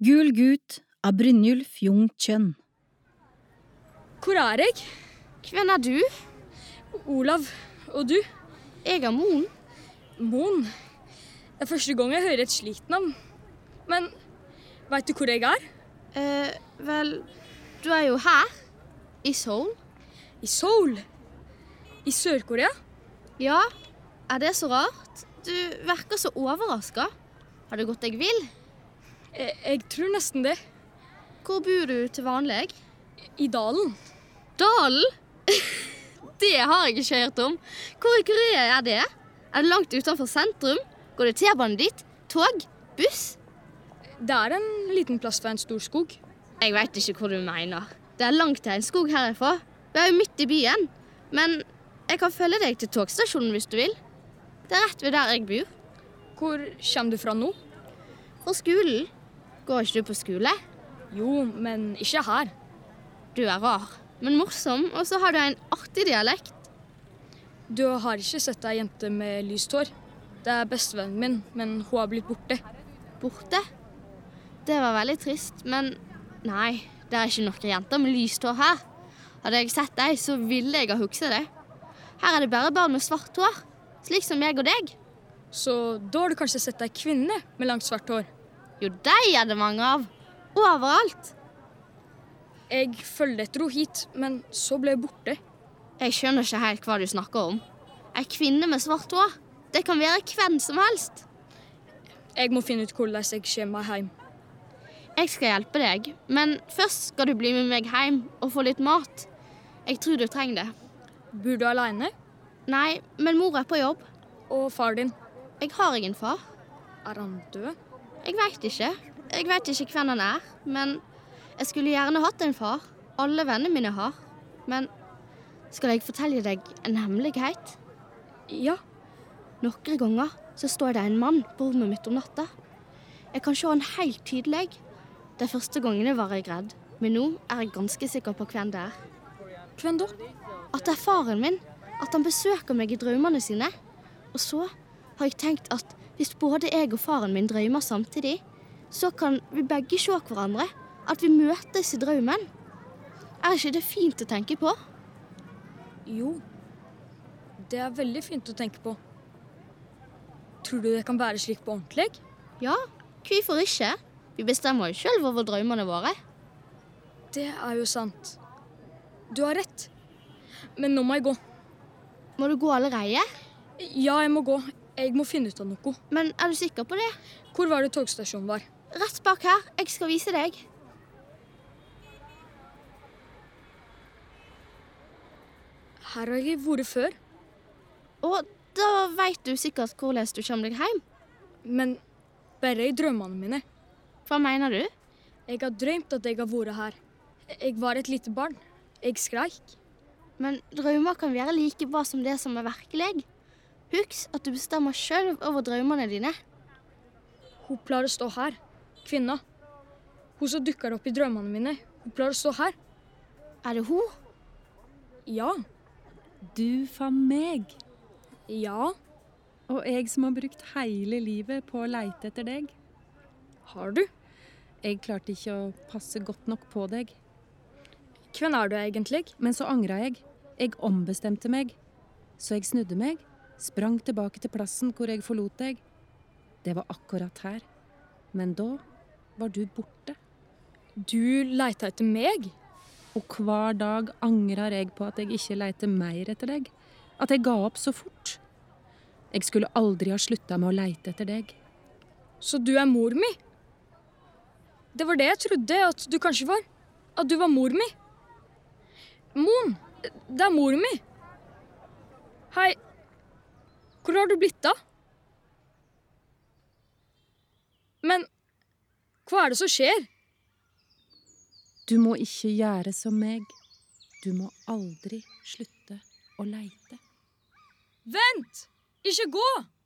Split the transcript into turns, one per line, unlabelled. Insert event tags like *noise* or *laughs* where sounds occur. Gul gutt av Brynjulf Jung Chønn.
Hvor er jeg?
Hvem er du?
Olav. Og du?
Jeg er moren.
Moen. Det er første gang jeg hører et slikt navn. Men veit du hvor jeg er?
Eh, vel, du er jo her. I Seoul.
I Seoul. I Sør-Korea.
Ja, er det så rart? Du virker så overraska. Har det gått deg vill?
Jeg, Eh, jeg tror nesten det.
Hvor bor du til vanlig?
I dalen.
Dalen? *laughs* det har jeg ikke hørt om. Hvor i Korea er det? Er det langt utenfor sentrum? Går det T-bane dit? Tog? Buss?
Det er en liten plass ved en stor skog.
Jeg veit ikke hvor du mener. Det er langt til en skog herfra. Vi er jo midt i byen. Men jeg kan følge deg til togstasjonen hvis du vil. Det er rett ved der jeg bor.
Hvor kommer du fra nå?
Fra skolen. Går ikke du på skole?
Jo, men ikke her.
Du er rar, men morsom, og så har du en artig dialekt.
Du har ikke sett ei jente med lyst hår. Det er bestevennen min, men hun har blitt borte.
Borte. Det var veldig trist, men nei, det er ikke noen jenter med lyst hår her. Hadde jeg sett deg, så ville jeg ha hukset deg. Her er det bare barn med svart hår, slik som meg og deg.
Så da har du kanskje sett ei kvinne med langt, svart hår.
Jo, deg er det mange av. Overalt.
Jeg følger etter henne hit, men så ble hun borte.
Jeg skjønner ikke helt hva du snakker om. Ei kvinne med svart hår. Det kan være hvem som helst.
Jeg må finne ut hvordan jeg kommer meg hjem.
Jeg skal hjelpe deg, men først skal du bli med meg hjem og få litt mat. Jeg tror du trenger det.
Bor du aleine?
Nei, men mor er på jobb.
Og far din?
Jeg har ingen far.
Er han død?
Jeg veit ikke. Jeg veit ikke hvem han er, men jeg skulle gjerne hatt en far. Alle vennene mine har. Men skal jeg fortelle deg en hemmelighet?
Ja.
Noen ganger så står det en mann på rommet mitt om natta. Jeg kan se han helt tydelig. De første gangene var jeg redd, men nå er jeg ganske sikker på hvem det er.
Hvem da?
At det er faren min. At han besøker meg i drømmene sine. Og så har jeg tenkt at hvis både jeg og faren min drømmer samtidig, så kan vi begge se hverandre. At vi møtes i drømmen. Er ikke det fint å tenke på?
Jo. Det er veldig fint å tenke på. Tror du det kan være slik på ordentlig?
Ja, hvorfor ikke? Vi bestemmer jo sjøl over drømmene våre.
Det er jo sant. Du har rett. Men nå må jeg gå.
Må du gå allerede?
Ja, jeg må gå. Jeg må finne ut av noe.
Men er du sikker på det?
Hvor var det togstasjonen var?
Rett bak her. Jeg skal vise deg.
Her har jeg vært før.
Og da veit du sikkert hvordan du kommer deg hjem.
Men bare i drømmene mine.
Hva mener du?
Jeg har drømt at jeg har vært her. Jeg var et lite barn. Jeg skreik.
Men drømmer kan være like bra som det som er virkelig. Husk at du bestemmer sjøl over drømmene dine.
Hun pleier å stå her. Kvinna. Hun som dukker opp i drømmene mine. Hun pleier å stå her.
Er det hun?
Ja.
Du fant meg,
Ja.
og jeg som har brukt hele livet på å leite etter deg.
Har du?
Jeg klarte ikke å passe godt nok på deg,
Hvem er du egentlig?
men så angra jeg. Jeg ombestemte meg. Så jeg snudde meg, sprang tilbake til plassen hvor jeg forlot deg. Det var akkurat her. Men da var du borte.
Du leita etter meg?
Og hver dag angrer jeg på at jeg ikke leter mer etter deg. At jeg ga opp så fort. Jeg skulle aldri ha slutta med å leite etter deg.
Så du er mor mi? Det var det jeg trodde at du kanskje var. At du var mor mi. Moen, det er mor mi. Hei, hvor har du blitt av? Men hva er det som skjer?
Du må ikke gjøre som meg. Du må aldri slutte å leite.
Vent! Ikke gå!